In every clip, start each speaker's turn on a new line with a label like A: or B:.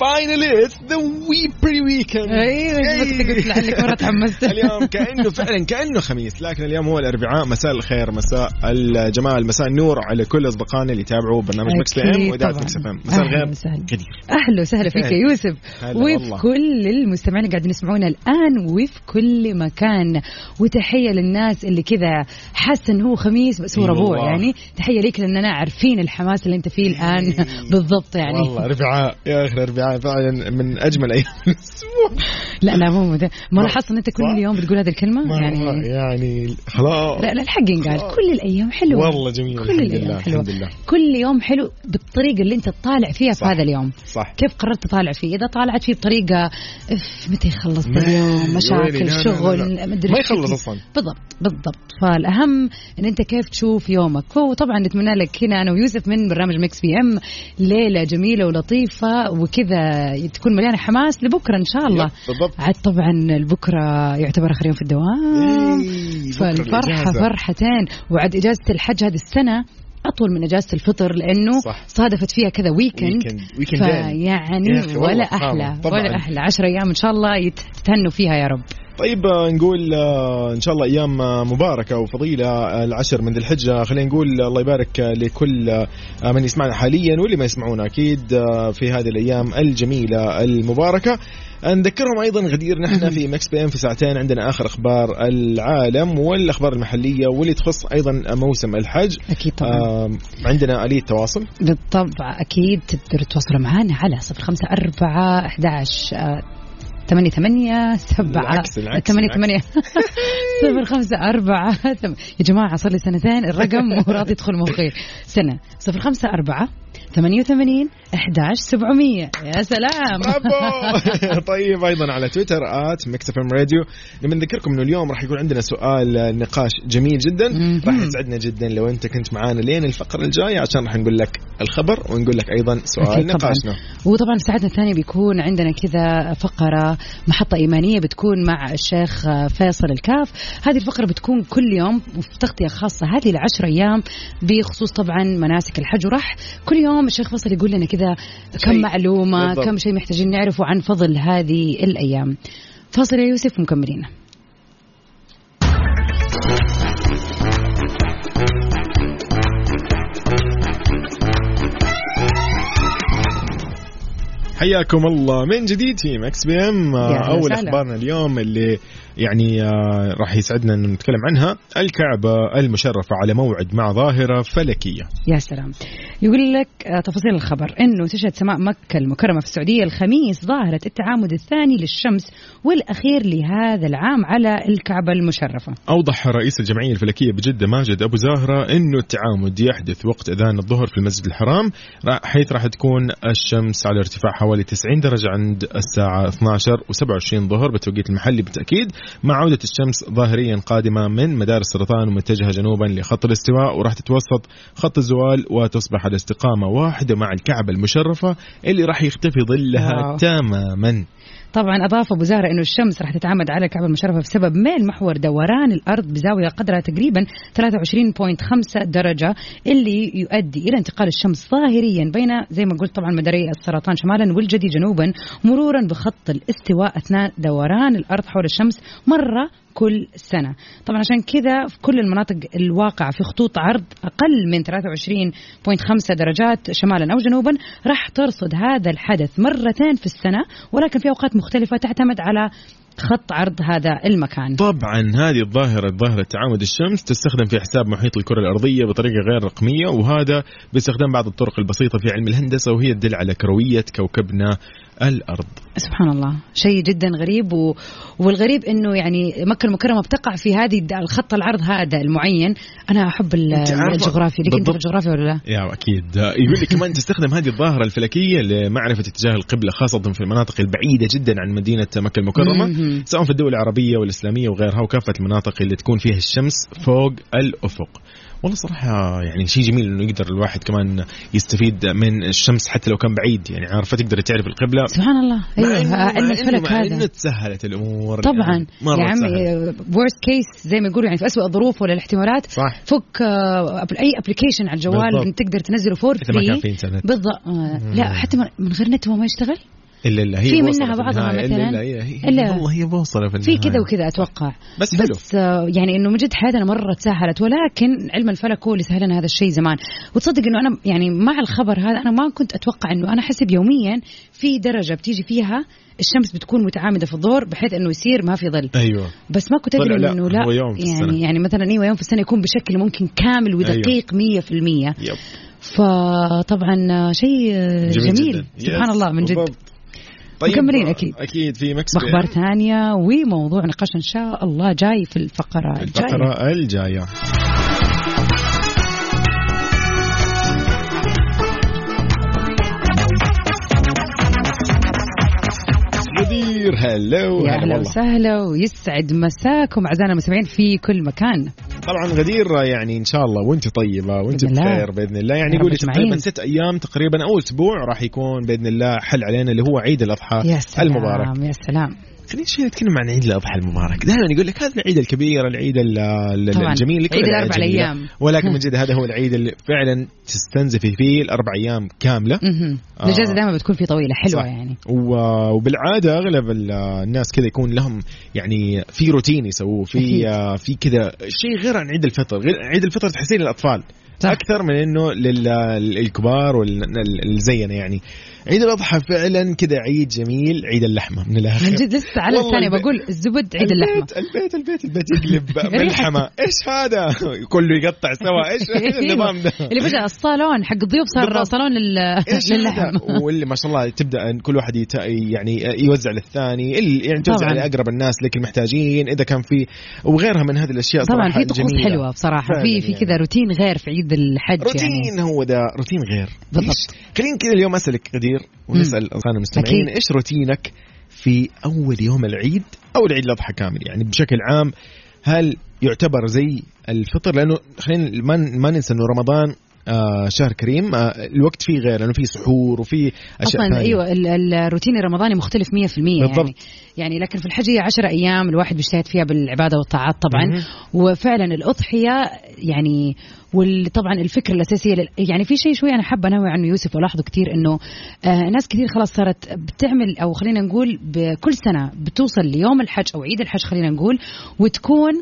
A: فاينلي اتس ذا وي بري ويكند
B: ايوه جبتك قلت لعلك مره تحمست
A: اليوم كانه فعلا كانه خميس لكن اليوم هو الاربعاء مساء الخير مساء الجمال مساء النور على كل اصدقائنا اللي يتابعوا برنامج مكس بي ام واذاعه مكس اف ام مساء الخير كثير
B: اهلا وسهلا فيك يا
A: أهلا.
B: يوسف
A: هلا والله.
B: وفي كل المستمعين اللي قاعدين يسمعونا الان وفي كل مكان وتحيه للناس اللي كذا حاسه انه هو خميس بس هو
A: إي
B: ربوع
A: والله.
B: يعني تحيه ليك لاننا عارفين الحماس اللي انت فيه الان بالضبط
A: والله
B: يعني
A: اربعاء يا اخي الاربعاء فعلا من اجمل ايام الاسبوع
B: لا لا مو مده ما لاحظت ان انت كل يوم بتقول هذه الكلمه
A: مرة
B: يعني
A: يعني خلاص
B: لا لا الحق ينقال كل الايام حلوه
A: آه. والله جميل
B: كل
A: الحمد
B: الايام
A: لله،
B: حلوه
A: الحمد لله.
B: كل يوم حلو بالطريقه اللي انت تطالع فيها في
A: صح.
B: هذا اليوم
A: صح
B: كيف قررت تطالع فيه؟ اذا طالعت فيه بطريقه اف متى يخلص
A: ما-
B: اليوم
A: يا ويلي، لا، لا،
B: مشاكل
A: لا،
B: شغل
A: لا.
B: مدري
A: ما
B: إيش
A: يخلص
B: شكل.
A: أصلاً.
B: بالضبط بالضبط فالاهم ان انت كيف تشوف يومك وطبعا نتمنى لك هنا انا ويوسف من برنامج مكس بي ام ليله جميله ولطيفه وكذا تكون مليانه حماس لبكره ان شاء الله
A: يب، بالضبط.
B: عاد طبعا بكره يعتبر اخر يوم في
A: إيه.
B: الدوام
A: إي، بكرة
B: فالفرحه
A: الإجازة.
B: فرحتين وعد اجازه الحج هذه السنه اطول من اجازه الفطر لانه
A: صح.
B: صادفت فيها كذا ويكند
A: ويكند- ويكندين. يا أخي
B: فيعني
A: والله
B: ولا
A: فاهمة.
B: احلى
A: طبعاً.
B: ولا احلى 10 ايام ان شاء الله يت- تتهنوا فيها يا رب
A: طيب آه، نقول آه، ان شاء الله ايام آه، مباركه وفضيله آه، العشر من ذي الحجه خلينا نقول آه، الله يبارك آه، لكل آه، من يسمعنا حاليا واللي ما يسمعونا اكيد آه، في هذه الايام الجميله المباركه نذكرهم ايضا غدير نحن في مكس بي ام في ساعتين عندنا اخر اخبار العالم والاخبار المحليه واللي تخص ايضا موسم الحج
B: اكيد طبعا
A: آه، عندنا اليه تواصل
B: بالطبع اكيد تقدروا تتواصلوا معنا على 05 4 11 آه، 8 8 7
A: العكس، العكس،
B: 8 8 0 5 4 يا جماعة صار لي سنتين الرقم مو راضي يدخل مخي سنة 0 5 4 88 11 700 يا سلام
A: برافو طيب ايضا على تويتر ات ميكس اف ام راديو نبي نذكركم انه اليوم راح يكون عندنا سؤال آه، نقاش جميل جدا
B: مهم.
A: راح يسعدنا جدا لو انت كنت معانا لين الفقره الجايه عشان راح نقول لك الخبر ونقول لك ايضا سؤال
B: أكيد طبعاً.
A: نقاشنا
B: وطبعا ساعتنا الثانية بيكون عندنا كذا فقرة محطة إيمانية بتكون مع الشيخ فيصل الكاف هذه الفقرة بتكون كل يوم وفي تغطية خاصة هذه العشر أيام بخصوص طبعا مناسك الحج وراح كل يوم الشيخ فيصل يقول لنا كذا كم
A: شيء.
B: معلومة
A: بالضبط.
B: كم شيء محتاجين نعرفه عن فضل هذه الأيام فاصل يا يوسف مكملين
A: حياكم الله من جديد في مكس بي ام
B: يا هلا
A: اول
B: وسهلا.
A: اخبارنا آه، اليوم اللي يعني آه، راح يسعدنا انه نتكلم عنها الكعبه المشرفه على موعد مع ظاهره فلكيه
B: يا سلام يقول لك آه، تفاصيل الخبر انه تشهد سماء مكه المكرمه في السعوديه الخميس ظاهره التعامد الثاني للشمس والاخير لهذا العام على الكعبه المشرفه
A: أوضح رئيس الجمعية الفلكية بجدة ماجد أبو زهرة أنه التعامد يحدث وقت أذان الظهر في المسجد الحرام را- حيث راح تكون الشمس على ارتفاع حوالي 90 درجة عند الساعة 12 و27 ظهر بالتوقيت المحلي بالتأكيد مع عودة الشمس ظاهريا قادمة من مدار السرطان ومتجهة جنوبا لخط الاستواء وراح تتوسط خط الزوال وتصبح الاستقامة واحدة مع الكعبة المشرفة اللي راح يختفي ظلها
B: واو.
A: تماما
B: طبعا اضاف ابو زهره انه الشمس راح تتعامد على الكعبه المشرفه بسبب ميل محور دوران الارض بزاويه قدرها تقريبا 23.5 درجه اللي يؤدي الى انتقال الشمس ظاهريا بين زي ما قلت طبعا مداري السرطان شمالا والجدي جنوبا مرورا بخط الاستواء اثناء دوران الارض حول الشمس مره كل سنه طبعا عشان كذا في كل المناطق الواقعه في خطوط عرض اقل من 23.5 درجات شمالا او جنوبا راح ترصد هذا الحدث مرتين في السنه ولكن في اوقات مختلفه تعتمد على خط عرض هذا المكان
A: طبعا هذه الظاهرة ظاهرة تعامد الشمس تستخدم في حساب محيط الكرة الأرضية بطريقة غير رقمية وهذا باستخدام بعض الطرق البسيطة في علم الهندسة وهي تدل على كروية كوكبنا الارض
B: سبحان الله شيء جدا غريب و... والغريب انه يعني مكه المكرمه بتقع في هذه الد- الخط العرض هذا المعين انا احب ال-
A: أنت عارفة
B: الجغرافيا لكن انت في
A: بالضبط.
B: الجغرافيا ولا لا
A: يا اكيد يقول لي كمان تستخدم هذه الظاهره الفلكيه لمعرفه اتجاه القبله خاصه في المناطق البعيده جدا عن مدينه مكه المكرمه
B: مهم.
A: سواء في الدول العربيه والاسلاميه وغيرها وكافه المناطق اللي تكون فيها الشمس فوق الافق والله صراحة يعني شيء جميل انه يقدر الواحد كمان يستفيد من الشمس حتى لو كان بعيد يعني عارفة تقدر تعرف القبلة
B: سبحان الله
A: مع إنه-
B: ايوه
A: مع
B: علم
A: إنه-
B: الفلك
A: مع إنه
B: هذا
A: تسهلت الامور
B: طبعا
A: يعني مرة
B: يا عمي
A: تسهلت.
B: ورست كيس زي ما يقولوا يعني في اسوء الظروف ولا الاحتمالات
A: صح
B: فك آه، أبل- اي ابلكيشن على الجوال
A: بالضبط.
B: إن تقدر تنزله فور
A: اذا ما كان
B: فري
A: في انترنت
B: بالضبط آه، لا حتى من- من غير نت هو ما يشتغل
A: الا الا هي
B: في
A: بوصلة
B: منها
A: في
B: بعضها
A: النهاية. إلا-
B: مثلاً.
A: إلا هي- هي-
B: إلا-
A: والله هي بوصلة في
B: في
A: النهاية
B: كذا وكذا اتوقع
A: بس حلو
B: بس آه، يعني انه من جد هذا مره تسهلت ولكن علم الفلك هو اللي سهل لنا هذا الشيء زمان وتصدق انه انا يعني مع الخبر هذا انا ما كنت اتوقع انه انا حسب يوميا في درجه بتيجي فيها الشمس بتكون متعامده في الظهر بحيث انه يصير ما في ظل
A: ايوه
B: بس ما كنت
A: طلع
B: ادري
A: لا،
B: انه لا
A: هو يوم في
B: يعني
A: السنة. أيوه.
B: يعني مثلا ايوه يوم في السنه يكون بشكل ممكن كامل ودقيق 100%
A: يب
B: فطبعا آه، شيء آه، جميل, جميل.
A: جداً.
B: سبحان
A: Yes.
B: الله من جد
A: بالضبط. طيب
B: مكملين أكيد.
A: اكيد في مكس
B: باخبار ثانيه وموضوع نقاش ان شاء الله جاي في الفقره الجايه
A: الفقرة الجاية مدير هلو هلا
B: يا اهلا
A: يعني والله
B: وسهلا ويسعد مساكم اعزائنا المستمعين في كل مكان
A: طبعا غدير يعني ان شاء الله وانت طيبه وانت
B: بإذن الله.
A: بخير باذن الله يعني
B: يا رب
A: قولي
B: أجمعين.
A: تقريبا ست ايام تقريبا او اسبوع راح يكون باذن الله حل علينا اللي هو عيد الاضحى
B: يا سلام
A: المبارك
B: يا سلام
A: خلينا شوي نتكلم عن عيد الاضحى المبارك دائما يقول لك هذا العيد الكبير العيد ال- ال-
B: طبعاً.
A: الجميل لكل
B: عيد
A: الأعياد
B: الأربع
A: جميلة.
B: الأيام.
A: ولكن من جد هذا هو العيد اللي فعلا تستنزفي فيه الاربع ايام كامله
B: مهم.
A: آه.
B: الاجازه دائما بتكون في طويله حلوه
A: صح.
B: يعني
A: و- وبالعاده اغلب ال- الناس كذا يكون لهم يعني في روتين يسووه في
B: أكيد.
A: آه، في كذا شيء غير عن عيد الفطر غير عيد الفطر تحسين للاطفال
B: صح.
A: اكثر من انه للكبار واللي زينا يعني عيد الاضحى فعلا كذا عيد جميل عيد اللحمه من الاخر
B: من جد لسه على
A: والله
B: الثانيه
A: الب-
B: بقول الزبد عيد اللحمه
A: البيت البيت البيت, البيت يقلب ملحمه ايش هذا كله يقطع سوا ايش النظام ده
B: اللي فجاه الصالون حق الضيوف صار
A: بالضبط.
B: صالون لل-
A: ايش
B: للحم
A: هذا؟ واللي ما شاء الله تبدا أن كل واحد يت... يعني يوزع للثاني اللي يعني توزع
B: طبعاً.
A: لاقرب الناس لك المحتاجين اذا كان في وغيرها من هذه الاشياء
B: طبعا
A: صراحة
B: في طقوس
A: جميلة.
B: حلوه بصراحه
A: فعلاً
B: في في
A: يعني.
B: كذا روتين غير في عيد الحج
A: روتين
B: يعني
A: هو ده روتين غير
B: بالضبط.
A: إيش- خلينا كذا اليوم اسالك غدير ونسال اصحابنا المستمعين
B: أكيد.
A: ايش روتينك في اول يوم العيد او العيد الاضحى كامل يعني بشكل عام هل يعتبر زي الفطر لانه خلينا ما ما ننسى انه رمضان آه شهر كريم آه الوقت فيه غير لانه فيه سحور وفيه اشياء
B: اصلا
A: ثانيه
B: ايوه ال- ال- الروتين الرمضاني مختلف 100% يعني
A: بالضبط.
B: يعني لكن في الحج هي 10 ايام الواحد بيجتهد فيها بالعباده والطاعات طبعا
A: مهم.
B: وفعلا الاضحيه يعني وطبعا الفكره الاساسيه لل- يعني في شيء شوي انا حابه انوه عنه يوسف والاحظه كثير انه آه ناس كثير خلاص صارت بتعمل او خلينا نقول بكل سنه بتوصل ليوم الحج او عيد الحج خلينا نقول وتكون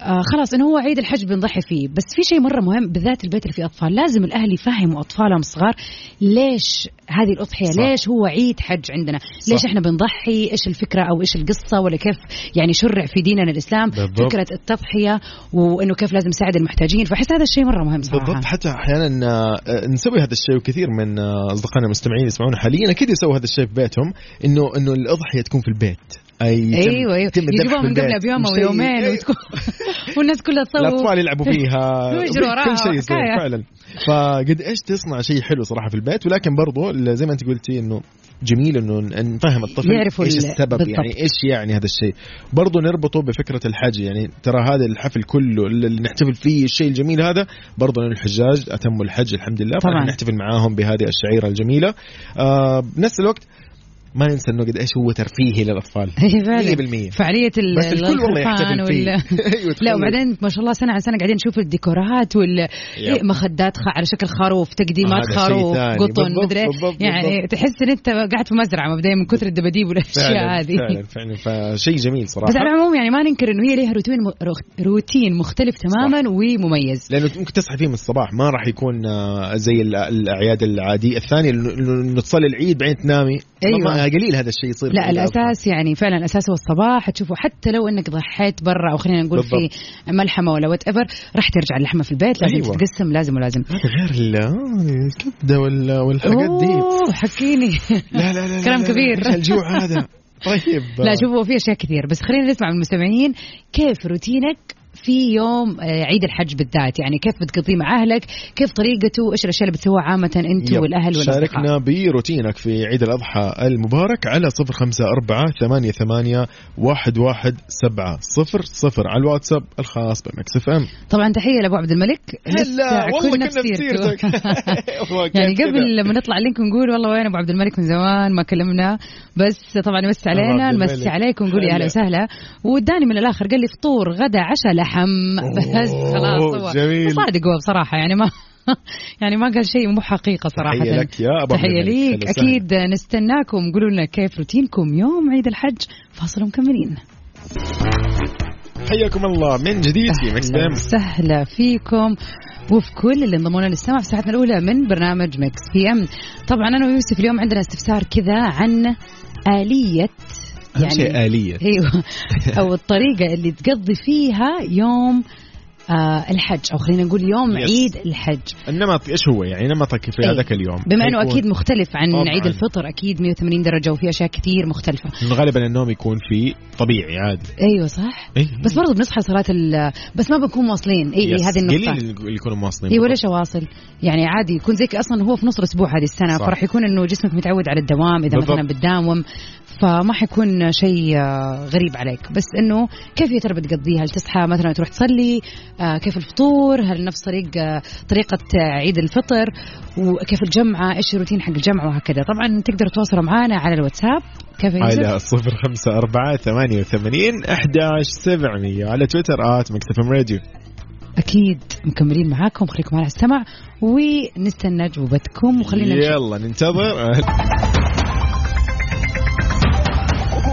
B: آه خلاص انه هو عيد الحج بنضحي فيه بس في شيء مره مهم بالذات البيت اللي فيه اطفال لازم الاهل يفهموا اطفالهم الصغار ليش هذه الاضحيه
A: صح.
B: ليش هو عيد حج عندنا
A: صح.
B: ليش احنا بنضحي ايش الفكره او ايش القصه ولا كيف يعني شرع في ديننا الاسلام
A: بالضبط.
B: فكره التضحيه وانه كيف لازم نساعد المحتاجين فاحس هذا الشيء مره مهم صراحه
A: بالضبط حتى احيانا آه، آه، نسوي هذا الشيء وكثير من آه، اصدقائنا المستمعين يسمعونا حاليا اكيد يسووا هذا الشيء في بيتهم انه انه الاضحيه تكون في البيت اي تم-
B: ايوه ايوه
A: تم الذبح
B: يجيبوها
A: في
B: من قبلها
A: البيت.
B: بيوم او
A: شيء-
B: يومين
A: أيوة.
B: وتكون والناس كلها تصور
A: الاطفال يلعبوا فيها
B: ويجروا وراها،
A: كل شيء يصير
B: حكاية.
A: فعلا فقد ايش تصنع شيء حلو صراحه في البيت ولكن برضو ل- زي ما انت قلتي انه جميل انه ن- نفهم الطفل
B: يعرفوا
A: ايش
B: ال-
A: السبب
B: بالضبط.
A: يعني ايش يعني هذا الشيء برضو نربطه بفكره الحج يعني ترى هذا الحفل كله اللي نحتفل فيه الشيء الجميل هذا برضو لأن الحجاج اتموا الحج الحمد لله
B: طبعاً.
A: طبعا نحتفل معاهم بهذه الشعيره الجميله آه بنفس الوقت ما ننسى انه قد ايش هو ترفيهي للاطفال
B: إيه فعلاً.
A: 100%
B: فعاليه ال-
A: بس الكل والله
B: الخرفان
A: يحتفل فيه
B: وال-
A: أيوة،
B: لا
A: تخيل.
B: وبعدين ما شاء الله سنه عن سنه قاعدين نشوف الديكورات وال إيه، مخدات خ... على شكل خروف تقديمات
A: آه، هذا شيء
B: خروف
A: ثاني.
B: قطن
A: بالضبط،
B: مدري إيه.
A: بالضبط،
B: يعني
A: بالضبط.
B: تحس ان انت قاعد في مزرعه مبدئيا من كثر الدباديب والاشياء
A: فعلا
B: هذه
A: فعلا فعلا فشيء جميل صراحه
B: بس على العموم يعني ما ننكر انه هي لها روتين م... رو- روتين مختلف تماما ومميز
A: لانه ممكن تصحى فيه من الصباح ما راح يكون آه، زي ال- الاعياد العاديه الثانيه إنه- انه إنه تصلي العيد بعدين تنامي ما-
B: أيوة،
A: ما
B: آه.
C: آه قليل هذا الشيء يصير
B: لا الاساس يعني فعلا الاساس هو الصباح تشوفه حتى لو انك ضحيت برا او خلينا نقول
A: بالضبط.
B: في ملحمه ولا وات ايفر راح ترجع اللحمه في البيت لازم
A: أيوة.
B: أيوة. تتقسم لازم ولازم
A: غير ال- الكبده وال- والحاجات دي
B: أوه، حكيني
A: لا لا لا
B: كلام
A: لا لا،
B: كبير.
A: ايش الجوع هذا طيب
B: لا شوفوا في اشياء كثير بس خلينا نسمع من المستمعين كيف روتينك في يوم آه، عيد الحج بالذات يعني كيف بتقضيه مع اهلك كيف طريقته ايش الاشياء اللي بتسووها عامه انت
A: يب.
B: والاهل والاصدقاء
A: شاركنا بروتينك في عيد الأضحى المبارك على صفر خمسة أربعة ثمانية ثمانية واحد واحد سبعة صفر صفر على الواتساب الخاص بمكس اف ام
B: طبعا تحيه لابو عبد الملك
A: هلا
B: لسه
A: والله
B: كنا
A: كنا بسيرتك والله كيف
B: يعني
A: كذا.
B: قبل لما نطلع لينك نقول والله وين ابو عبد الملك من زمان ما كلمنا بس طبعا يمسي
A: أبو
B: علينا
A: عبد الملك.
B: نمسي عليك ونقول يا اهلا
A: هلا.
B: وسهلا واداني من الاخر قال لي فطور غدا عشاء لحم بس خلاص هو
A: جميل.
B: صادق هو بصراحه يعني ما يعني ما قال شيء مو حقيقه صراحه
A: تحية لك يا أبو عبد
B: تحية
A: الملك.
B: ليك
A: أهلا وسهلا.
B: اكيد نستناكم قولوا لنا كيف روتينكم يوم عيد الحج فاصل مكملين
A: حياكم الله من جديد في مكس اف
B: أهلاً
A: ام
B: وسهلا فيكم وفي كل اللي انضمونا للسمع في ساعتنا الاولى من برنامج مكس بي ام طبعا انا ويوسف اليوم عندنا استفسار كذا عن يعني اليه
C: اهم شيء آلية
B: ايوه او الطريقه اللي تقضي فيها يوم آه الحج او خلينا نقول يوم
A: Yes.
B: عيد الحج
A: النمط ايش هو يعني نمطك في
B: إيه.
A: هذاك اليوم
B: بما انه
A: حيكون
B: اكيد مختلف عن
A: طبعاً.
B: عيد الفطر اكيد 180 درجه وفي اشياء كثير مختلفه
A: غالبا النوم يكون في طبيعي عادي
B: ايوه صح
A: إيه.
B: بس برضه بنصحى صلاه ال- بس ما بنكون واصلين اي
A: يس.
B: إيه هذه النقطه
A: قليل اللي يكونوا مواصلين
B: اي ولا شواصل يعني عادي يكون زيك اصلا هو في نص الاسبوع هذه السنه
A: صح.
B: فراح يكون انه جسمك متعود على الدوام اذا
A: بالضبط.
B: مثلا بتداوم فما حيكون شيء آه، غريب عليك بس انه كيف يا ترى بتقضيها هل تصحى مثلا تروح تصلي آه، كيف الفطور هل نفس طريق آه، طريقه آه، عيد الفطر وكيف الجمعه ايش الروتين حق الجمعه وهكذا طبعا تقدروا تتواصلوا معنا على الواتساب كيف يا يوسف؟
A: على صفر خمسة أربعة ثمانية وثمانين أحداش سبعمية على تويتر آت مكتف أم راديو
B: اكيد مكملين معاكم خليكم على السمع ونستنى جوابتكم وخلينا نشوف
A: يلا ننتظر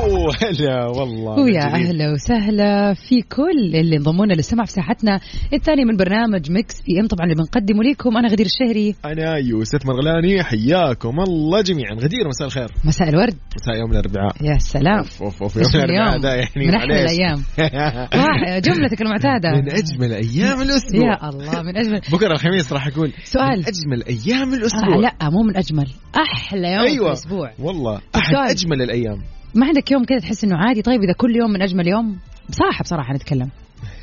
A: أوه، هلا والله
B: ويا
A: من جديد.
B: اهلا وسهلا في كل اللي انضمونا للسمع في ساحتنا الثانيه من برنامج مكس بي ام طبعا اللي بنقدمه لكم انا غدير الشهري
A: انا يوسف مرغلاني حياكم الله جميعا غدير مساء الخير
B: مساء الورد
A: مساء يوم الاربعاء
B: يا سلام
A: اوف اوف اوف يوم
B: اسم
A: الاربعاء ده
B: اليوم
A: يعني
B: من احلى
A: معليش.
B: الايام واحد- جملتك المعتاده
A: من اجمل ايام الاسبوع
B: يا الله من اجمل
A: بكره الخميس راح اقول
B: سؤال.
A: من اجمل ايام
B: آه
A: الاسبوع
B: لا مو من اجمل احلى يوم أيوة. في
A: أيوة.
B: الاسبوع
A: والله احد
B: سؤال.
A: اجمل الايام
B: ما عندك يوم كذا تحس انه عادي طيب اذا كل يوم من اجمل يوم بصراحه بصراحه نتكلم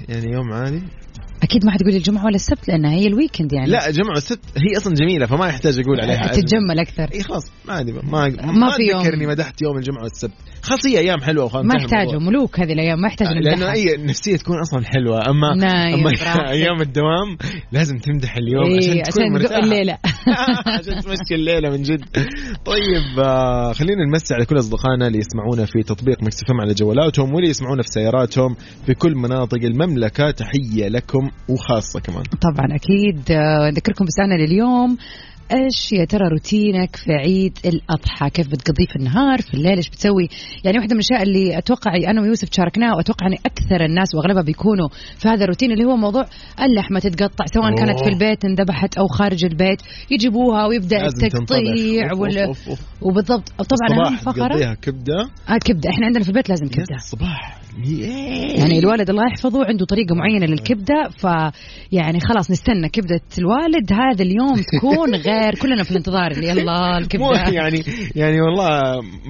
A: يعني يوم عادي
B: اكيد ما حتقول لي الجمعه ولا السبت لانها هي الويكند يعني
A: لا جمعة ست هي اصلا جميله فما يحتاج اقول عليها أيوة. أجمل.
B: تتجمل اكثر
A: اي خلاص ما عندي ما ما,
B: ما في يوم.
A: تذكرني مدحت يوم الجمعه والسبت خلاص هي ايام حلوه وخلاص
B: ما
A: انتهى
B: يحتاجوا
A: الموضوع.
B: ملوك هذه الايام ما يحتاجوا
A: لانه اي النفسيه تكون اصلا حلوه اما
B: نايم،
A: اما
B: براحتك.
A: ايام الدوام لازم تمدح اليوم عشان تكون
B: إيه، عشان
A: مرتاحه
B: تدق الليله
A: عشان تمشي الليله من جد طيب آه خلينا نمسي على كل اصدقائنا اللي يسمعونا في تطبيق مكسفم على جوالاتهم واللي يسمعونا في سياراتهم في كل مناطق المملكه تحيه لكم وخاصه كمان
B: طبعا اكيد آه، نذكركم بسؤالنا لليوم ايش يا ترى روتينك في عيد الاضحى؟ كيف بتقضيه في النهار؟ في الليل ايش بتسوي؟ يعني واحده من الاشياء اللي اتوقع انا ويوسف شاركناها واتوقع ان اكثر الناس واغلبها بيكونوا في هذا الروتين اللي هو موضوع اللحمه تتقطع سواء
A: أوه.
B: كانت في البيت انذبحت او خارج البيت يجيبوها ويبدا
A: لازم
B: التقطيع
A: تنطبخ
B: وال...
A: أوف، أوف، أوف.
B: وبالضبط طبعا اهم
A: صباح
B: فقره
A: تقضيها كبده
B: آه كبده احنا عندنا في البيت لازم كبده
A: صباح
B: يعني الوالد الله يحفظه عنده طريقة معينة للكبدة فيعني خلاص نستنى كبدة الوالد هذا اليوم تكون غير كلنا في الانتظار اللي يلا
A: مو
B: الكبدة
A: يعني يعني والله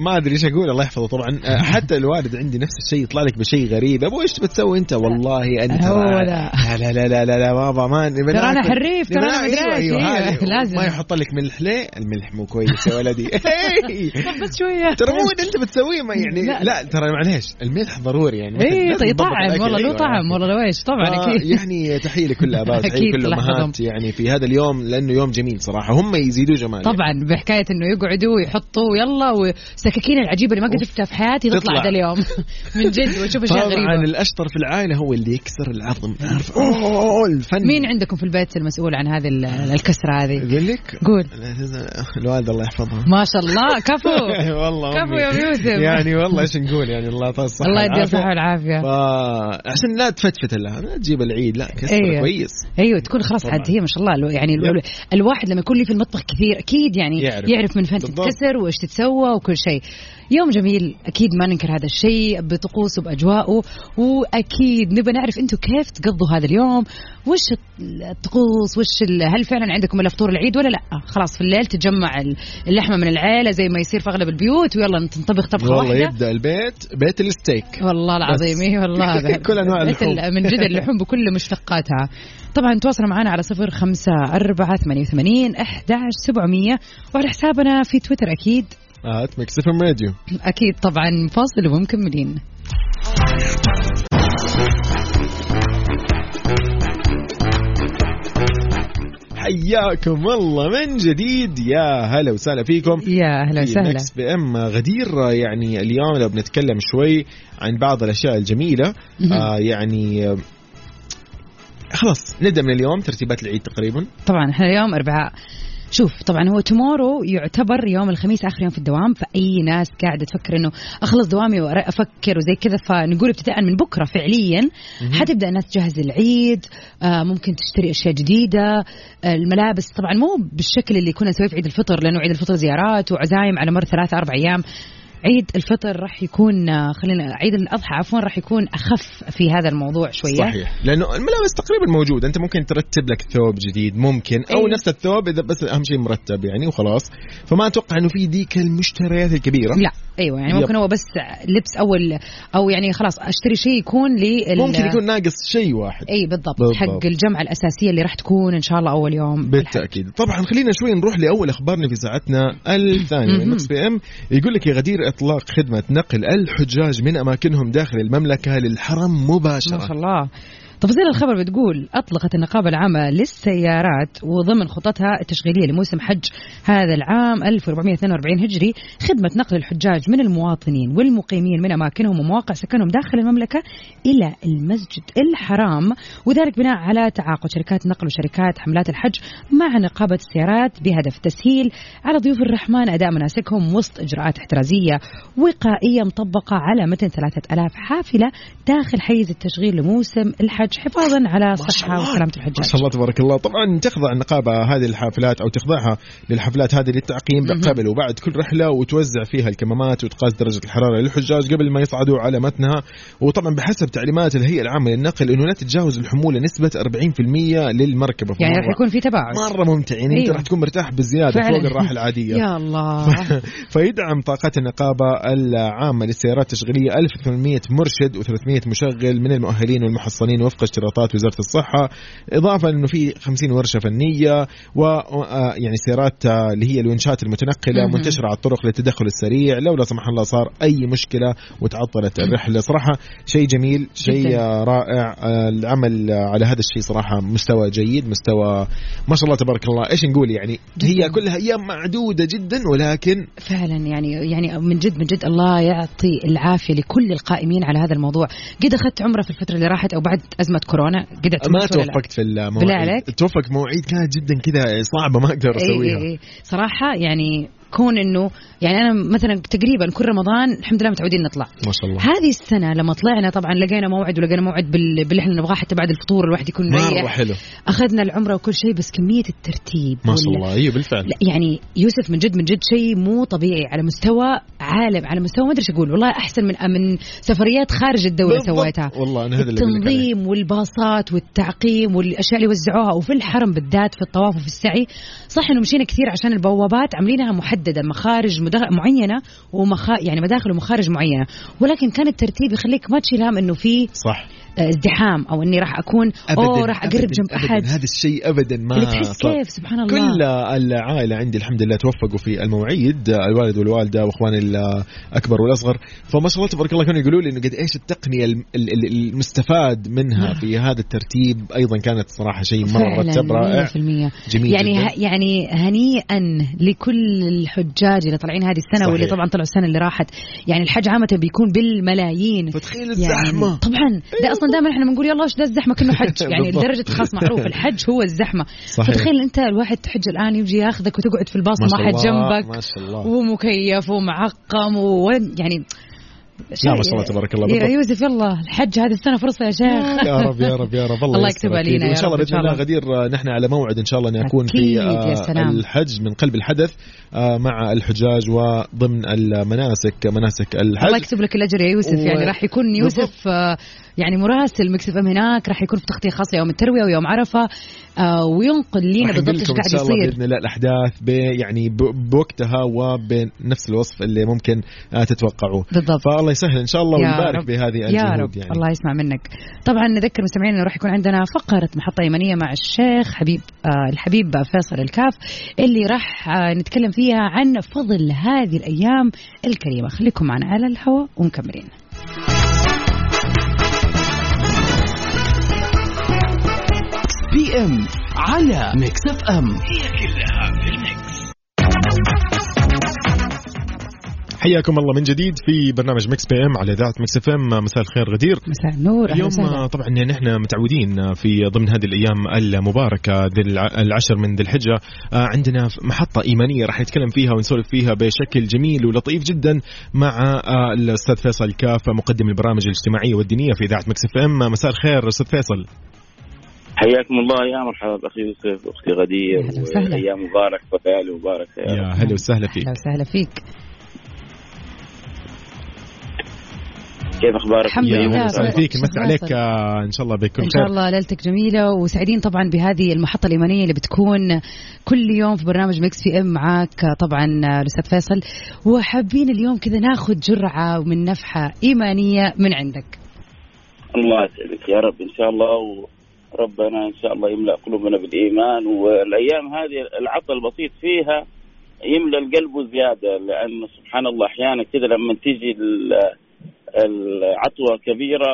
A: ما ادري ايش اقول الله يحفظه طبعا آه، حتى الوالد عندي نفس الشيء يطلع لك بشيء غريب ابو ايش بتسوي انت والله انت
B: هو
A: ما-
B: لا.
A: لا لا لا لا لا بابا ما نبي
B: ترى أنا
A: ناكل.
B: حريف، ترى
A: نبي
B: أنا
A: ناكل.
B: مدري إيش، أيوة، لازم.
A: ما يحط لك ملح ليه الملح مو كويس يا ولدي إي.
B: بس شوية
A: ترى مو اللي انت بتسويه ما يعني
B: لا.
A: لا, ترى معليش الملح ضروري يعني
B: ايه
A: لازم
B: طيب
A: تضبط
B: طعم
A: الأكل.
B: والله له
A: أيوة،
B: طعم والله لو ايش طبعا
A: آه،
B: اكيد
A: يعني تحيه لكل الاباء تحيه
B: أكيد
A: لكل
B: لحظهم.
A: الامهات يعني في هذا اليوم لانه يوم جميل صراحه هم يزيدوا جمال
B: طبعا بحكاية انه يقعدوا ويحطوا يلا والسكاكين العجيبة اللي ما قد شفتها في حياتي تطلع
A: تطلع.
B: هذا اليوم من جد واشوف اشياء
A: طبعا
B: غريبة
A: الاشطر في العائله هو اللي يكسر العظم عارف اوه الفن
B: مين عندكم في البيت المسؤول عن هذه ال- الكسرة هذه؟
A: يقول لك
B: قول
A: الوالد الله يحفظها
B: ما شاء الله كفو
A: والله
B: كفو يا
A: أمي.
B: يوسف.
A: يعني والله ايش نقول يعني الله يعطيها الصحه
B: الله يديها
A: والعافية.
B: بالصحة والعافية
A: فعشان لا تفتفت لها لا تجيب العيد لا كسر
B: أيوة.
A: كويس
B: ايوه تكون خلاص
A: طبعاً.
B: عاد هي ما شاء الله الو- يعني الو-
A: يب.
B: الواحد لما يكون لي في المطبخ كثير اكيد يعني
A: يعرف.
B: يعرف, يعرف من فين
A: بالضبط.
B: تتكسر وايش تتسوى وكل شيء يوم جميل اكيد ما ننكر هذا الشيء بطقوسه باجواءه واكيد نبى نعرف انتم كيف تقضوا هذا اليوم وش الطقوس وش ال- هل فعلا عندكم الا فطور العيد ولا لا خلاص في الليل تتجمع ال- اللحمه من العيله زي ما يصير في اغلب البيوت ويلا تنطبخ طبخه
A: والله
B: واحده
A: يبدا البيت بيت الستيك
B: والله العظيم اي والله
A: كل أنواع
B: مثل-
A: اللحوم.
B: من جد اللحوم بكل مشتقاتها طبعا تواصلوا معنا على صفر خمسة أربعة ثمانية وثمانين أحداش سبعمية وعلى حسابنا في تويتر أكيد
A: هات ميكس اف ام راديو
B: أكيد طبعا فاصل ومكملين
A: حياكم والله من جديد يا هلا وسهلا فيكم
B: يا أهلا وسهلا
A: مكس بي ام غدير يعني اليوم لو بنتكلم شوي عن بعض الاشياء الجميله
B: مهم.
A: آه يعني آه، خلاص نبدا من اليوم ترتيبات العيد تقريبا
B: طبعا احنا اليوم أربعاء شوف طبعا هو تومورو يعتبر يوم الخميس اخر يوم في الدوام فاي ناس قاعده تفكر انه اخلص دوامي وافكر وزي كذا فنقول ابتداء من بكره فعليا حتبدا الناس تجهز العيد آه، ممكن تشتري اشياء جديده آه، الملابس طبعا مو بالشكل اللي كنا نسويه في عيد الفطر لانه عيد الفطر زيارات وعزايم على مر ثلاثة اربع ايام عيد الفطر راح يكون آه، خلينا عيد الاضحى عفوا راح يكون اخف في هذا الموضوع شويه
A: صحيح لانه الملابس تقريبا موجوده انت ممكن ترتب لك ثوب جديد ممكن او
B: أيوة.
A: نفس الثوب اذا بس اهم شيء مرتب يعني وخلاص فما اتوقع انه في ديك المشتريات الكبيره
B: لا ايوه يعني
A: يب.
B: ممكن هو بس لبس اول او يعني خلاص اشتري شيء يكون لي
A: ممكن يكون ناقص شيء واحد
B: اي بالضبط,
A: بالضبط.
B: حق الجمعه الاساسيه اللي راح تكون ان شاء الله اول يوم
A: بالتاكيد طبعا خلينا شوي نروح لاول اخبارنا في ساعتنا الثانيه من
B: مهم.
A: مكس بي ام يقول لك يا غدير اطلاق خدمه نقل الحجاج من اماكنهم داخل المملكه للحرم
B: ما شاء
A: مباشره
B: الله تفاصيل الخبر بتقول أطلقت النقابة العامة للسيارات وضمن خططها التشغيلية لموسم حج هذا العام 1442 هجري خدمة نقل الحجاج من المواطنين والمقيمين من أماكنهم ومواقع سكنهم داخل المملكة إلى المسجد الحرام وذلك بناء على تعاقد شركات نقل وشركات حملات الحج مع نقابة السيارات بهدف تسهيل على ضيوف الرحمن أداء مناسكهم وسط إجراءات احترازية وقائية مطبقة على متن 3000 حافلة داخل حيز التشغيل لموسم الحج حفاظا على صحة وسلامة
A: ما
B: الحجاج
A: شاء الله تبارك الله طبعا تخضع النقابه هذه الحافلات او تخضعها للحفلات هذه للتعقيم
B: مهم.
A: قبل وبعد كل رحله وتوزع فيها الكمامات وتقاس درجه الحراره للحجاج قبل ما يصعدوا على متنها وطبعا بحسب تعليمات الهيئه العامه للنقل انه لا تتجاوز الحموله نسبه 40% للمركبه
B: يعني راح
A: فمرة-
B: يكون في تباعد
A: مره ممتع يعني انت
B: أيوه.
A: راح تكون مرتاح بالزياده
B: فعلاً.
A: فوق الراحه العاديه
B: يا الله
A: فيدعم طاقات النقابة العامة للسيارات التشغيلية 1800 مرشد و300 مشغل من المؤهلين والمحصنين وفق اشتراطات وزارة الصحة إضافة أنه في 50 ورشة فنية و آه، يعني سيارات آه، اللي هي الونشات المتنقلة
B: مهم.
A: منتشرة على الطرق للتدخل السريع لو لا سمح الله صار أي مشكلة وتعطلت الرحلة صراحة شيء جميل شيء
B: جداً.
A: آه، رائع آه، العمل آه، على هذا الشيء صراحة مستوى جيد مستوى ما شاء الله تبارك الله ايش نقول يعني هي
B: جداً.
A: كلها ايام معدودة جدا ولكن
B: فعلا يعني يعني من جد من جد الله يعطي العافيه لكل القائمين على هذا الموضوع، قد اخذت عمره في الفتره اللي راحت او بعد ازمه كورونا قد اعتمدت
A: ما
B: ولا لا؟
A: توفقت في
B: بالله
A: المواعيد
B: عليك.
A: توفقت مواعيد كانت جدا كذا صعبه ما اقدر
B: اي
A: اسويها
B: اي اي صراحه إيه، يعني كون انه يعني انا مثلا تقريبا كل رمضان الحمد لله متعودين نطلع
A: ما شاء الله
B: هذه السنه لما طلعنا طبعا لقينا موعد ولقينا موعد بال- باللي احنا نبغاه حتى بعد الفطور الواحد يكون
A: مره
B: مريح
A: حلو
B: اخذنا العمره وكل شيء بس كميه الترتيب
A: ما شاء
B: وال-
A: الله اي بالفعل
B: لا يعني يوسف من جد من جد شيء مو طبيعي على مستوى عالم على مستوى ما ادري إيش اقول والله احسن من من سفريات خارج الدوله
A: بالضبط.
B: سويتها
A: والله انا هذا اللي أقول لك عليه.
B: التنظيم والباصات والتعقيم والاشياء اللي وزعوها وفي الحرم بالذات في الطواف وفي السعي صح انه مشينا كثير عشان البوابات عاملينها محدده مخارج مدغ- معينه ومخا يعني مداخل ومخارج معينه ولكن كان الترتيب يخليك ما تشيل هم انه في
A: صح
B: آه، ازدحام او اني راح اكون اوه راح اقرب
A: أبداً، آه،
B: جنب
A: أبداً.
B: احد
A: هذا الشيء ابدا ما
B: اللي تحس
A: صار.
B: كيف سبحان الله
A: كل العائلة عندي الحمد لله توفقوا في المواعيد الوالد والوالدة وإخواني الأكبر والأصغر فما شاء الله تبارك الله كانوا يقولوا لي إنه قد إيش التقنية الم- ال- ال- المستفاد
B: نعم.
A: منها في هذا الترتيب أيضا كانت صراحة شيء مرة مرتب رائع
B: فعلا 100%
A: جميل
B: يعني
A: جداً.
B: ه... يعني هنيئا لكل الحجاج اللي طالعين هذه السنه
A: صحيح.
B: واللي طبعا طلعوا السنه اللي راحت يعني الحج عامه بيكون بالملايين
A: فتخيل
B: يعني
A: الزحمة
B: طبعا ده اصلا دائما احنا بنقول يلا ايش ده الزحمه كانه حج يعني
A: بالضبط.
B: لدرجه خلاص معروف الحج هو الزحمه
A: صحيح.
B: فتخيل انت الواحد تحج الان يجي ياخذك وتقعد في الباص
A: ما
B: وما
A: شاء
B: حد
A: الله،
B: جنبك
A: ما شاء الله
B: ومكيف ومعقم و يعني
A: لا ما شاء الله تبارك الله
B: يا
A: بالضبط.
B: يوسف يلا الحج هذه السنه فرصه يا شيخ
A: يا رب يا رب يا رب الله,
B: الله
A: ييسر
B: يكتبها
A: أكيد.
B: لينا يا
A: وان شاء الله
B: رب، إن
A: باذن
B: شاء
A: الله
B: الله.
A: غدير آه، نحن على موعد ان شاء الله ان اكون
B: أكيد،
A: في
B: يا
A: آه،
B: سلام.
A: الحج من قلب الحدث آه، مع الحجاج وضمن المناسك مناسك
B: الله
A: الحج
B: يكتب لك الاجر يا يوسف
A: و-
B: يعني راح يكون يوسف آه، يعني مراسل مكسب ام هناك راح يكون في تغطيه خاصه يوم الترويه ويوم عرفه آه، وينقل لينا
A: راح نقول
B: بالضبط ايش
A: لكم ان
B: قاعد
A: شاء الله
B: يصير
A: باذن الله الاحداث ب يعني ب- بوقتها وبنفس الوصف اللي ممكن آه، تتوقعوه
B: بالضبط
A: فالله يسهل ان شاء الله
B: يا
A: ويبارك
B: رب.
A: بهذه
B: يا رب
A: الجهود يعني
B: الله يسمع منك طبعا نذكر مستمعينا انه راح يكون عندنا فقره محطه يمنيه مع الشيخ حبيب آه الحبيب فيصل الكاف اللي راح آه نتكلم فيها عن فضل هذه الايام الكريمه خليكم معنا على الهواء ومكملين
D: بي ام على ميكس اف ام هي كلها في الميكس
A: حياكم الله من جديد في برنامج مكس بي ام على اذاعه مكس اف ام مساء الخير غدير
B: مساء النور أهلا
A: اليوم
B: وسهلا.
A: آه، طبعا نحن متعودين آه، في ضمن هذه الايام المباركه ذي الع- العشر من ذي الحجه آه، عندنا ف- محطه ايمانيه راح نتكلم فيها ونسولف فيها بشكل جميل ولطيف جدا مع آه، الاستاذ فيصل كاف مقدم البرامج الاجتماعيه والدينيه في اذاعه مكس اف ام مساء الخير استاذ فيصل
E: حياكم الله يا مرحبا باخي يوسف واختي غدير
B: أهلا وسهلا.
E: وايام مبارك وفعال مبارك يا رب.
A: يا هلا وسهلا فيك
B: اهلا وسهلا فيك
E: كيف اخبارك
B: الحمد
A: يا
B: لله.
A: هلا وسهلا
B: أهلا.
A: فيك نمسي
B: أهلا.
A: عليك آه، ان شاء الله بكل
B: ان شاء
A: خير
B: الله ليلتك جميله وسعيدين طبعا بهذه المحطه الايمانيه اللي بتكون كل يوم في برنامج مكس بي ام معاك طبعا الاستاذ فيصل وحابين اليوم كذا ناخذ جرعه من نفحه ايمانيه من عندك
E: الله يسعدك يا رب ان شاء الله وربنا ان شاء الله يملا قلوبنا بالايمان والايام هذه العطل البسيط فيها يملا القلب زياده لان سبحان الله احيانا كذا لما تيجي ال- العطوه كبيره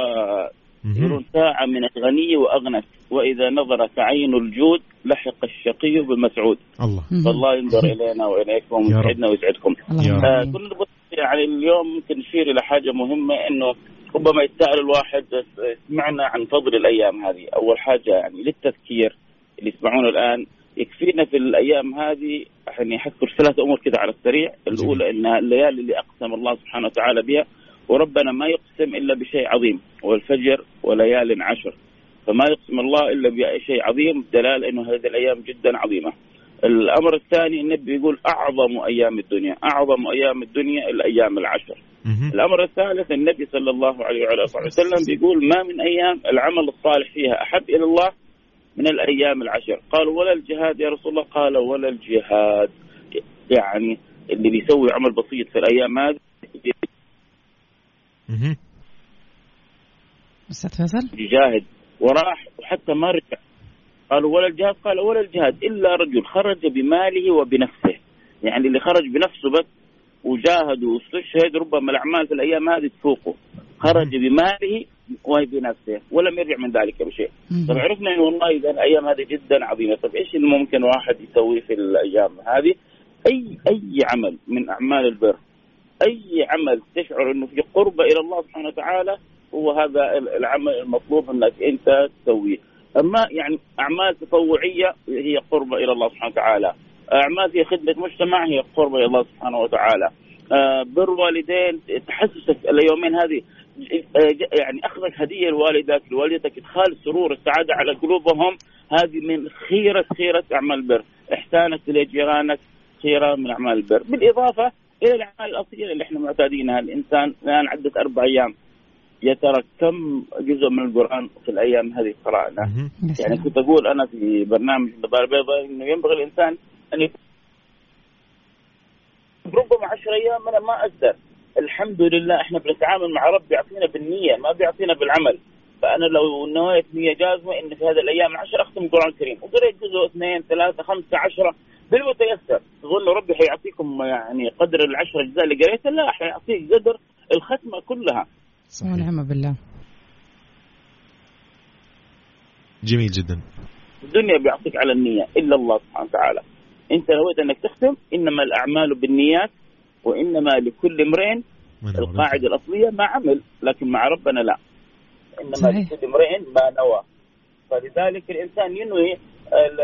A: مهم.
E: يقولون ساعة من الغني وأغنت وإذا نظرت عين الجود لحق الشقي بالمسعود
A: الله
B: مهم.
E: فالله ينظر إلينا وإليكم
A: يا رب.
E: ويسعدنا ويسعدكم
B: اللهم
A: يا
E: آه
B: آمين.
E: كنا نبغى يعني اليوم ممكن نشير إلى حاجة مهمة إنه ربما يتساءل الواحد بس سمعنا عن فضل الأيام هذه أول حاجة يعني للتذكير اللي يسمعونا الآن يكفينا في الأيام هذه يعني أذكر ثلاث أمور كده على السريع الأولى إنها الليالي اللي أقسم الله سبحانه وتعالى بها وربنا ما يقسم إلا بشيء عظيم والفجر وليال عشر فما يقسم الله إلا بشيء عظيم دلال أنه هذه الأيام جدا عظيمة الأمر الثاني النبي يقول أعظم أيام الدنيا أعظم أيام الدنيا الأيام العشر
A: مهم.
E: الامر الثالث النبي صلى الله عليه وعلى اله وسلم بيقول ما من ايام العمل الصالح فيها احب الى الله من الايام العشر قالوا ولا الجهاد يا رسول الله قال ولا الجهاد يعني اللي بيسوي عمل بسيط في الايام هذه
A: مهم.
B: استاذ فيصل
E: يجاهد وراح وحتى ما رجع قالوا ولا الجهاد قال ولا الجهاد الا رجل خرج بماله وبنفسه يعني اللي خرج بنفسه بس وجاهد واستشهد ربما الاعمال في الايام هذه تفوقه خرج بماله وبنفسه ولم يرجع من ذلك بشيء
B: مهم.
E: طب عرفنا انه والله اذا الايام هذه جدا عظيمه طب ايش اللي ممكن واحد يسويه في الايام هذه اي اي عمل من اعمال البر اي عمل تشعر انه في قربه الى الله سبحانه وتعالى هو هذا ال- العمل المطلوب انك انت تسويه اما يعني اعمال تطوعيه هي قربه الى الله سبحانه وتعالى اعمال في خدمه مجتمع هي قربه الى الله سبحانه وتعالى آه، بر والدين تحسسك اليومين هذه ج- آه، ج- يعني اخذك هديه لوالدك لوالدتك ادخال السرور السعاده على قلوبهم هذه من خيره خيره اعمال البر احسانك لجيرانك خيره من اعمال البر بالاضافه الى الاعمال الاصيله اللي احنا معتادينها الانسان الان عدت اربع ايام يا ترى كم جزء من القران في الايام هذه قرانا
A: مهم.
B: يا
E: يعني
B: سلام.
E: كنت اقول انا في برنامج النظاره البيضاء انه ينبغي الانسان ان يكون ربما عشر ايام انا ما اقدر الحمد لله احنا بنتعامل مع رب بيعطينا بالنيه ما بيعطينا بالعمل فانا لو نويت نيه جازمه ان في هذه الايام العشر اختم القران الكريم وقريت جزء اثنين ثلاثه خمسه عشره بالمتيسر تقول له ربي حيعطيكم يعني قدر العشر اجزاء اللي قريتها لا حيعطيك قدر الختمه كلها
A: صحيح.
B: ونعم بالله
A: جميل جدا
E: الدنيا بيعطيك على النية إلا الله سبحانه وتعالى أنت نويت أنك تختم إنما الأعمال بالنيات وإنما لكل امرئ
A: ما نعرف.
E: القاعدة الأصلية ما عمل لكن مع ربنا لا إنما
B: صحيح.
E: لكل امرئ ما نوى فلذلك الإنسان ينوي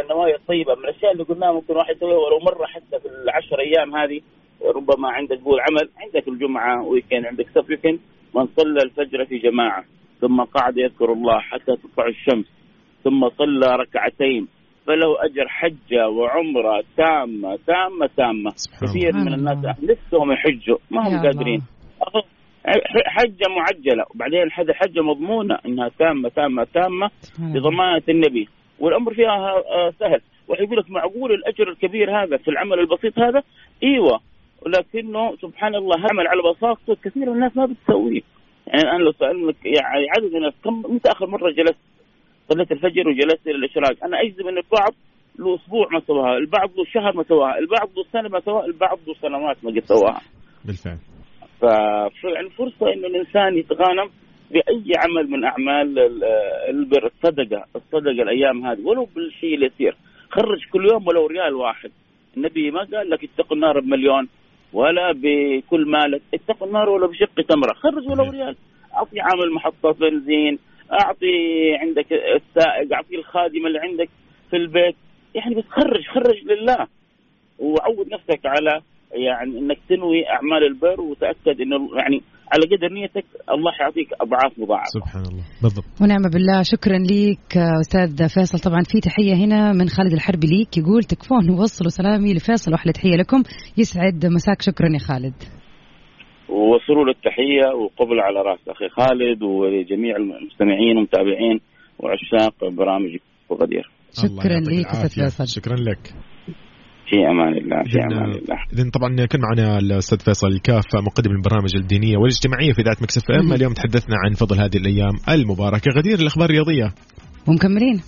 E: النوايا الطيبة من الأشياء اللي قلناها ممكن واحد يسويها ولو مرة حتى في العشر أيام هذه ربما عندك قول عمل عندك الجمعه ويكند عندك سبت ويكند من صلى الفجر في جماعه ثم قعد يذكر الله حتى تطلع الشمس ثم صلى ركعتين فله اجر حجه وعمره تامه تامه تامه
A: سبحان الله
E: كثير من الناس لسهم يحجوا ما
B: يا
E: هم
B: الله.
E: قادرين أخ- ح- حجه معجله وبعدين هذه حجه مضمونه انها تامه تامه تامه
B: سبحان الله.
E: بضمانه النبي والامر فيها آه، سهل ويقول لك معقول الاجر الكبير هذا في العمل البسيط هذا ايوه لكنه سبحان الله عمل على بساطته كثير من الناس ما بتسويه يعني الان لو سالنك يعني عدد من الناس كم متى اخر مره جلست صليت الفجر وجلست الى الاشراق انا اجزم ان البعض له اسبوع ما سواها، البعض له شهر ما سواها، البعض له سنه ما سواها، البعض له سنوات ما قد سواها.
A: بالفعل
E: ف- يعني فرصة انه الانسان يتغانم باي عمل من اعمال ال- البر الصدقه، الصدقه الايام هذه ولو بالشيء اليسير، خرج كل يوم ولو ريال واحد، النبي ما قال لك اتقوا النار بمليون ولا بكل مالك، اتقوا النار ولو بشق تمره، خرج ولو ريال، اعطي عامل محطه بنزين، اعطي عندك السائق، اعطي الخادم اللي عندك في البيت، يعني بس خرج خرج لله وعود نفسك على يعني انك تنوي اعمال البر وتاكد انه يعني على قدر نيتك الله يعطيك اضعاف مضاعفه.
A: سبحان الله بالضبط
B: ونعم بالله شكرا ليك آه، استاذ فيصل طبعا في تحيه هنا من خالد الحربي ليك يقول تكفون وصلوا سلامي لفيصل واحلى تحيه لكم يسعد مساك شكرا يا خالد
E: وصلوا له التحيه وقبل على راس اخي خالد ولجميع المستمعين والمتابعين وعشاق برامج وغدير.
B: شكراً
A: الله يعطيك
B: لك أستاذ
A: العافية.
B: فيصل.
A: شكرا لك
E: في امان الله في
A: إذن-
E: امان الله.
A: اذا طبعا كان معنا الاستاذ فيصل الكافة مقدم البرامج الدينيه والاجتماعيه في ذات مكسف ام اليوم تحدثنا عن فضل هذه الايام المباركه غدير الاخبار الرياضيه
B: ومكملين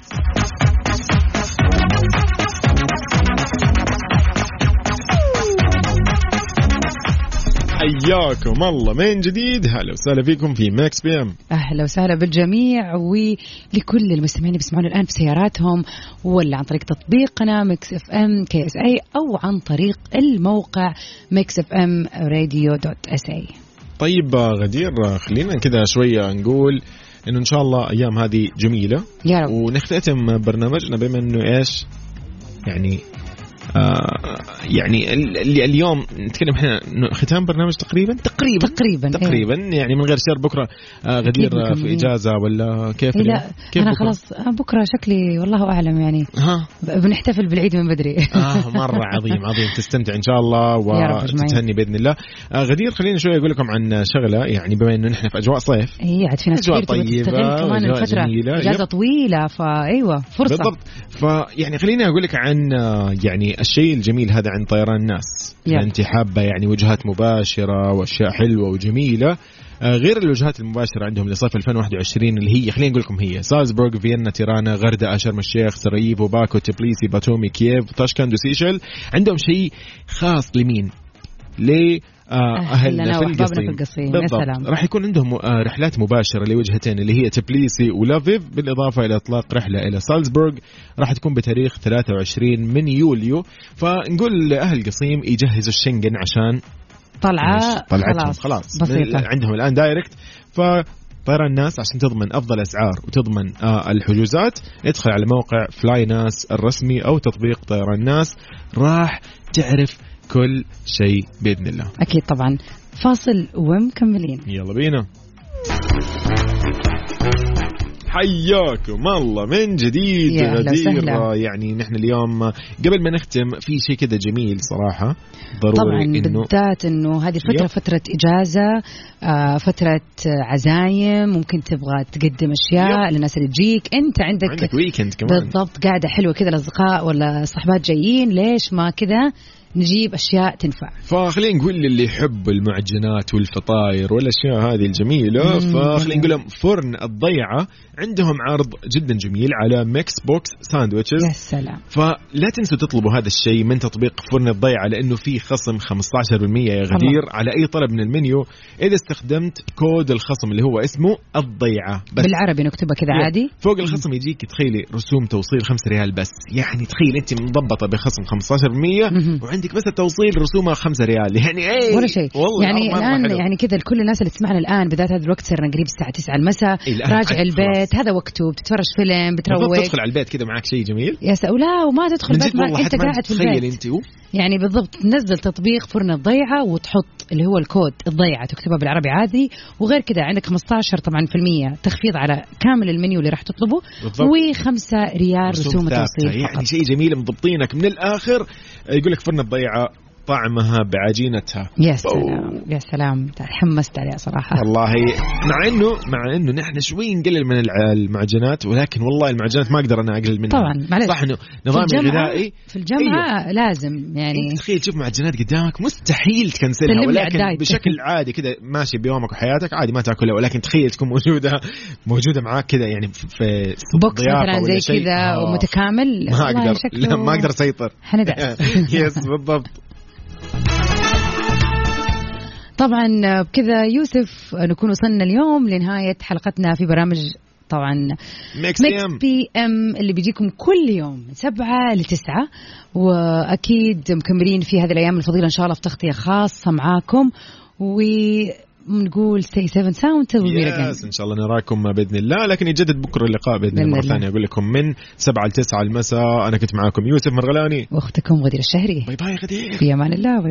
A: حياكم الله من جديد هلا وسهلا فيكم في ماكس بي ام
B: اهلا وسهلا بالجميع ولكل المستمعين اللي بيسمعونا الان في سياراتهم ولا عن طريق تطبيقنا ميكس اف ام كي اس اي او عن طريق الموقع ميكس اف ام راديو دوت إيه. اس اي
A: طيب آه، غدير آه، خلينا كذا شويه نقول انه ان شاء الله ايام هذه جميله
B: يا رب
A: ونختتم برنامجنا بما انه ايش يعني آه يعني ال- ال- اليوم نتكلم احنا إنه ختام برنامج تقريبا تقريبا
B: تقريبا
A: تقريبا يعني من غير شر بكره آه غدير آه، في
B: مكملين.
A: اجازه ولا كيف
B: إيه. إيه
A: اليوم؟
B: لا
A: كيف
B: انا
A: بكرة؟
B: خلاص آه، بكره شكلي والله اعلم يعني
A: ها
B: ب- بنحتفل بالعيد من بدري
A: آه مرة عظيم عظيم تستمتع إن شاء الله
B: يا رب أجمعين.
A: وتتهني بإذن الله آه غدير خلينا شوي أقول لكم عن شغلة يعني بما إنه نحن في أجواء صيف
B: اي إيه، عاد في ناس
A: أجواء
B: كثير تبغى
A: طيبة
B: تستغل كمان
A: وأجواء
B: الفتره
A: جميلة.
B: اجازه
A: يب.
B: طويله فايوه فرصه
A: بالضبط فيعني خليني أقول لك عن آه، يعني الشيء الجميل هذا عن طيران الناس إذا
B: يلا.
A: أنت حابة يعني وجهات مباشرة وأشياء حلوة وجميلة آه، غير الوجهات المباشرة عندهم لصيف 2021 اللي هي خلينا نقول لكم هي سالزبورغ، فيينا، تيرانا، غردقة، شرم الشيخ، سراييفو، باكو، تبليسي، باتومي، كييف، طاشكند وسيشل، عندهم شيء خاص لمين؟ ل آه،
B: أهلنا
A: اهلنا في
B: وأحبابنا
A: القصيم
B: في القصيم. يا سلام.
A: بالضبط راح يكون عندهم آه، رحلات مباشره لوجهتين اللي هي تبليسي ولافيف بالاضافه الى اطلاق رحله الى سالزبورغ راح تكون بتاريخ 23 من يوليو فنقول لاهل القصيم يجهزوا الشنغن عشان
B: طلعه
A: طلعتهم
B: آه،
A: خلاص,
B: خلاص
A: خلاص.
B: بسيطه
A: من- عندهم الان دايركت ف طيران الناس عشان تضمن افضل اسعار وتضمن آه الحجوزات ادخل على موقع فلاي ناس الرسمي او تطبيق طيران ناس راح تعرف كل شيء باذن الله
B: اكيد طبعا فاصل ومكملين
A: يلا بينا حياكم الله من جديد
B: يا أهلا
A: غدير
B: وسهلا.
A: آه، يعني نحن اليوم آه، قبل ما نختم في شيء كذا جميل صراحه ضروري
B: طبعا
A: انه
B: بالذات انه هذه الفتره
A: يب.
B: فتره اجازه آه، فتره آه، عزايم ممكن تبغى تقدم اشياء للناس اللي تجيك انت عندك,
A: عندك ويكند كمان
B: بالضبط قاعده حلوه كذا الاصدقاء ولا صحبات جايين ليش ما كذا نجيب اشياء تنفع
A: فخلينا نقول للي يحب المعجنات والفطاير والاشياء هذه الجميله
B: مم.
A: فخلينا نقول لهم فرن الضيعه عندهم عرض جدا جميل على ميكس بوكس ساندويتشز
B: يا سلام
A: فلا تنسوا تطلبوا هذا الشيء من تطبيق فرن الضيعه لانه في خصم 15% يا غدير على اي طلب من المنيو اذا استخدمت كود الخصم اللي هو اسمه الضيعه بس
B: بالعربي نكتبها كذا
A: يب.
B: عادي
A: فوق الخصم يجيك يعني تخيلي رسوم توصيل 5 ريال بس يعني تخيل انت مضبطه بخصم 15%
B: مهم.
A: عندك بس التوصيل رسومها 5 ريال يعني اي
B: ولا شيء
A: والله
B: يعني
A: مرة
B: الان
A: حلو.
B: يعني كذا لكل الناس اللي تسمعنا الان بالذات هذا الوقت صرنا قريب الساعه 9 المساء
A: إيه، الآن
B: راجع
A: خلاص.
B: البيت هذا وقته بتتفرج فيلم
A: المفروض
B: بتروق
A: تدخل على البيت كذا معك شيء جميل
B: يا سا لا وما تدخل
A: من
B: البيت
A: جد
B: ما
A: والله
B: انت
A: حتى ما
B: قاعد في البيت
A: تتخيل انت
B: يعني بالضبط تنزل تطبيق فرن الضيعة وتحط اللي هو الكود الضيعة تكتبها بالعربي عادي وغير كذا عندك 15 طبعا في المية تخفيض على كامل المنيو اللي راح تطلبه
A: بالضبط
B: و5 ريال
A: رسوم
B: رسوم
A: ثابتة.
B: توصيل فقط
A: يعني شيء جميل مضبطينك من الاخر يقول لك فرن الضيعه طعمها بعجينتها
B: يا سلام يا سلام تحمست عليها صراحة
A: والله مع انه مع انه نحن شوي نقلل من الع- المعجنات ولكن والله المعجنات ما اقدر انا اقلل منها
B: طبعا معلش
A: صح انه
B: في
A: نظام
B: الجامعة
A: الغذائي أيوه.
B: في الجامعة لازم يعني
A: انت تخيل تشوف معجنات قدامك مستحيل تكنسلها
B: سلم لي
A: ولكن
B: عدايت.
A: بشكل عادي كذا ماشي بيومك وحياتك عادي ما تاكلها ولكن تخيل تكون موجوده موجوده معاك كذا يعني في- في
B: بوكس
A: ضيافة
B: مثلا
A: ولا
B: زي
A: شيء.
B: كذا
A: آه،
B: ومتكامل
A: ما
B: والله
A: اقدر
B: شكله
A: لا ما اقدر اسيطر
B: حندعس
A: يس بالضبط
B: طبعا آه، بكذا يوسف آه، نكون وصلنا اليوم لنهاية حلقتنا في برامج طبعا
A: ميكس بي
B: ميكس
A: ام
B: بي ام اللي بيجيكم كل يوم من سبعة لتسعة وأكيد مكملين في هذه الأيام الفضيلة إن شاء الله في تغطية خاصة معاكم ونقول stay safe and sound till we meet
A: يس
B: again
A: ان شاء الله نراكم باذن الله لكن يجدد بكره اللقاء باذن الله
B: بإذن
A: مره
B: الله.
A: ثانيه اقول لكم من 7 ل 9 المساء انا كنت معاكم يوسف مرغلاني
B: وأختكم غدير الشهري
A: باي باي غدير
B: في أمان الله باي.